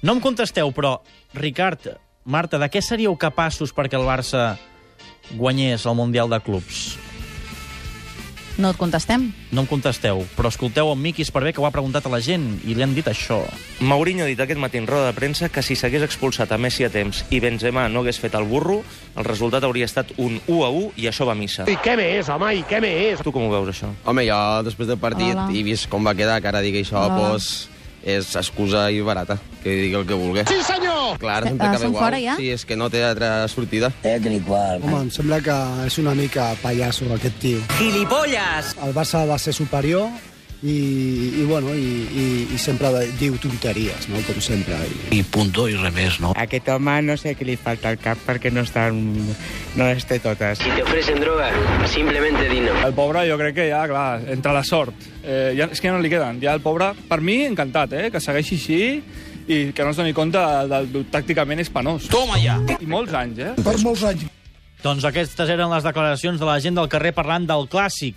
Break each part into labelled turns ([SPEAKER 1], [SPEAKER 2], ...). [SPEAKER 1] No em contesteu, però, Ricard, Marta, de què seríeu capaços perquè el Barça guanyés el Mundial de Clubs?
[SPEAKER 2] No et contestem?
[SPEAKER 1] No em contesteu, però escolteu en Miquis per bé que ho ha preguntat a la gent i li han dit això.
[SPEAKER 3] Mourinho ha dit aquest matí en roda de premsa que si s'hagués expulsat a Messi a temps i Benzema no hagués fet el burro, el resultat hauria estat un 1 a 1 i això va a missa.
[SPEAKER 4] I què més, home, i què més?
[SPEAKER 3] Tu com ho veus, això?
[SPEAKER 5] Home, jo, després del partit,
[SPEAKER 2] Hola.
[SPEAKER 5] he vist com va quedar, que ara digui això,
[SPEAKER 2] Hola.
[SPEAKER 5] doncs és excusa i barata, que digui el que vulgui.
[SPEAKER 4] Sí, senyor!
[SPEAKER 5] Clar,
[SPEAKER 2] Eh,
[SPEAKER 5] sempre
[SPEAKER 2] eh,
[SPEAKER 5] acaba
[SPEAKER 2] són
[SPEAKER 5] igual.
[SPEAKER 2] fora, ja?
[SPEAKER 5] Sí, és que no té altra sortida.
[SPEAKER 6] Home, em sembla que és una mica pallasso aquest tio. Gilipolles! El Barça va ser superior i, i bueno, i, i, i sempre diu tonteries, no? com sempre. I...
[SPEAKER 7] Aquest home no sé què li falta al cap perquè no estan... no les té totes.
[SPEAKER 8] Si te ofrecen droga, simplemente dino.
[SPEAKER 9] El pobre jo crec que ja, clar, entre la sort, eh, ja, és que ja no li queden. Ja el pobre, per mi, encantat, eh, que segueixi així i que no es doni compte del, del tàcticament és penós. Toma ja! I molts anys, eh?
[SPEAKER 6] Per molts anys.
[SPEAKER 1] Doncs aquestes eren les declaracions de la gent del carrer parlant del clàssic,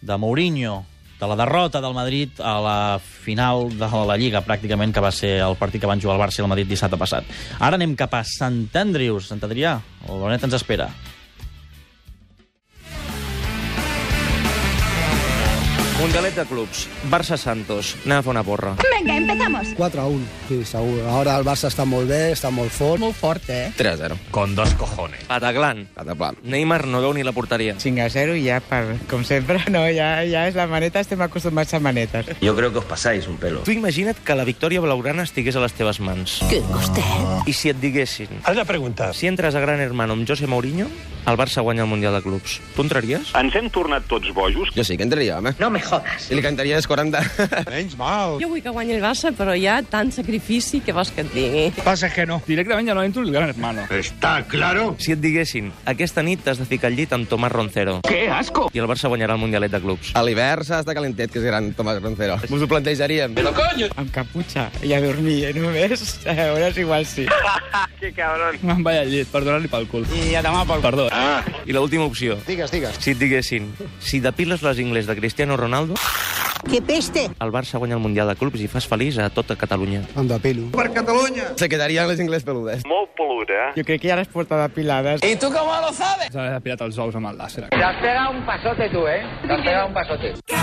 [SPEAKER 1] de Mourinho, de la derrota del Madrid a la final de la Lliga, pràcticament, que va ser el partit que van jugar el Barça i el Madrid dissabte passat. Ara anem cap a Sant Andrius, Sant Adrià. El Bonet ens espera.
[SPEAKER 3] Mundialet de clubs, Barça-Santos, anem a fer una porra.
[SPEAKER 6] 4 a 1, sí, segur. Ara el Barça està molt bé, està molt fort.
[SPEAKER 2] Molt fort, eh?
[SPEAKER 5] 3-0.
[SPEAKER 3] Pataglan,
[SPEAKER 5] Cada plan.
[SPEAKER 3] Neymar no veu ni la porteria.
[SPEAKER 7] 5 a 0 i ja, per, com sempre, no, ja, ja és la maneta, estem acostumats a manetes.
[SPEAKER 8] Yo creo que os pasáis un pelo.
[SPEAKER 3] Tu imagina't que la victòria blaugrana estigués a les teves mans.
[SPEAKER 2] Que vostè...
[SPEAKER 3] I si et diguessin,
[SPEAKER 4] Has de preguntar.
[SPEAKER 3] si entres a Gran Hermano amb José Mourinho, el Barça guanya el Mundial de Clubs. Tu entraries?
[SPEAKER 10] Ens hem tornat tots bojos.
[SPEAKER 5] Jo sí que entraria, home.
[SPEAKER 8] No me jodas.
[SPEAKER 5] I li cantaria les 40.
[SPEAKER 4] Menys mal.
[SPEAKER 2] Jo vull que guanyi el Barça, però hi ha tant sacrifici que vols que et digui.
[SPEAKER 4] Passa que no.
[SPEAKER 9] Directament ja no entro el gran hermano.
[SPEAKER 10] Està claro.
[SPEAKER 3] Si et diguessin, aquesta nit t'has de ficar al llit amb Tomás Roncero.
[SPEAKER 10] Que asco!
[SPEAKER 3] I el Barça guanyarà el Mundialet de Clubs.
[SPEAKER 5] A l'hivern s'ha d'estar calentet, que és gran, Tomàs Roncero. Us ho plantejaríem. Però
[SPEAKER 7] Amb caputxa i a dormir, eh, només. A veure si igual sí.
[SPEAKER 9] Me'n vaig al llit per donar-li pel cul.
[SPEAKER 7] I a demà pel...
[SPEAKER 9] Perdó, eh?
[SPEAKER 3] I l'última opció,
[SPEAKER 6] Digues, digues.
[SPEAKER 3] si et diguessin, si depiles les ingles de Cristiano Ronaldo,
[SPEAKER 2] Que peste!
[SPEAKER 3] el Barça guanya el Mundial de Clubs i fas feliç a tota Catalunya.
[SPEAKER 6] Em depilo.
[SPEAKER 5] se quedarien les ingles peludes.
[SPEAKER 10] Molt pelut, eh?
[SPEAKER 7] Jo crec que ja les porta depilades. I...
[SPEAKER 9] eh. S'ha depilat els ous amb el làser.
[SPEAKER 8] Te has pegado un pasote tú, ¿eh? Te has pegado un pasote.